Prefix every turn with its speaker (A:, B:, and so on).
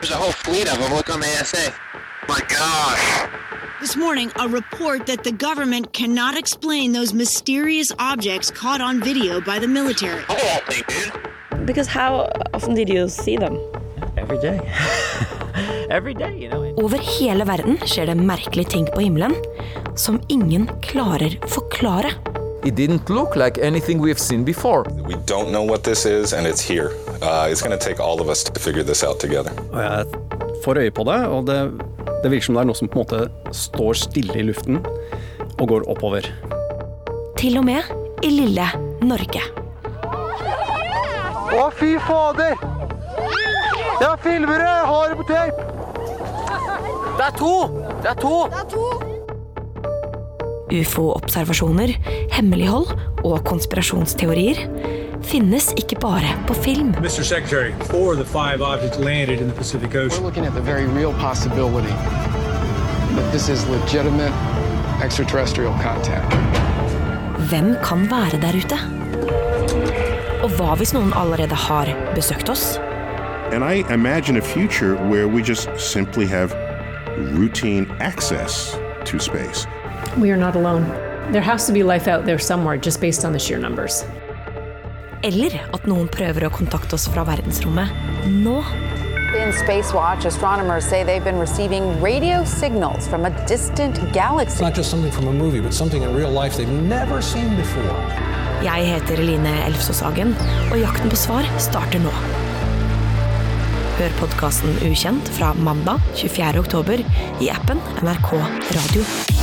A: There's a whole fleet of them. Look on the ASA. My gosh.
B: This morning, a report that the government cannot explain those mysterious objects caught on video by the military.
A: Whole thing, dude.
C: Because how often did you see them?
D: Every day. Every day, you know.
E: Over hele verden skjer det merkelige ting på himmelen som ingen klarer forklare.
F: It didn't look like anything we've seen before.
G: We don't know what this is, and it's here. Uh, it's going to take all of us to figure this out together.
H: Og jeg får øye på det, og det, det virker som det er noe som på en måte står stille i luften og går oppover.
E: Til og med i lille Norge.
I: Å, fy fader! Jeg har filmer, jeg har det på tape! Det er to! Det er to!
E: Ufo-observasjoner, hemmelighold og konspirasjonsteorier finnes ikke bare på film.
J: Mr. Secretary, four of the five objects landed in the Pacific
K: We're
J: Ocean.
K: looking at the very real possibility that this is legitimate extraterrestrial contact.
E: Hvem kan være der ute? Og hva hvis noen allerede har besøkt oss?
L: And I imagine a future where we just simply have routine access to space.
M: We are not alone. There has to be life out there somewhere just based on the sheer numbers.
E: Eller at noen prøver å kontakte oss fra verdensrommet nå?
N: In Space Watch, astronomers say they've been receiving radio signals from a distant galaxy.
O: It's not just something from a movie, but something in real life they've never seen before.
E: Jeg heter Eline Elfsås Hagen, og Jakten på svar starter nå. Hør podkasten Ukjent fra mandag 24. oktober i appen NRK Radio.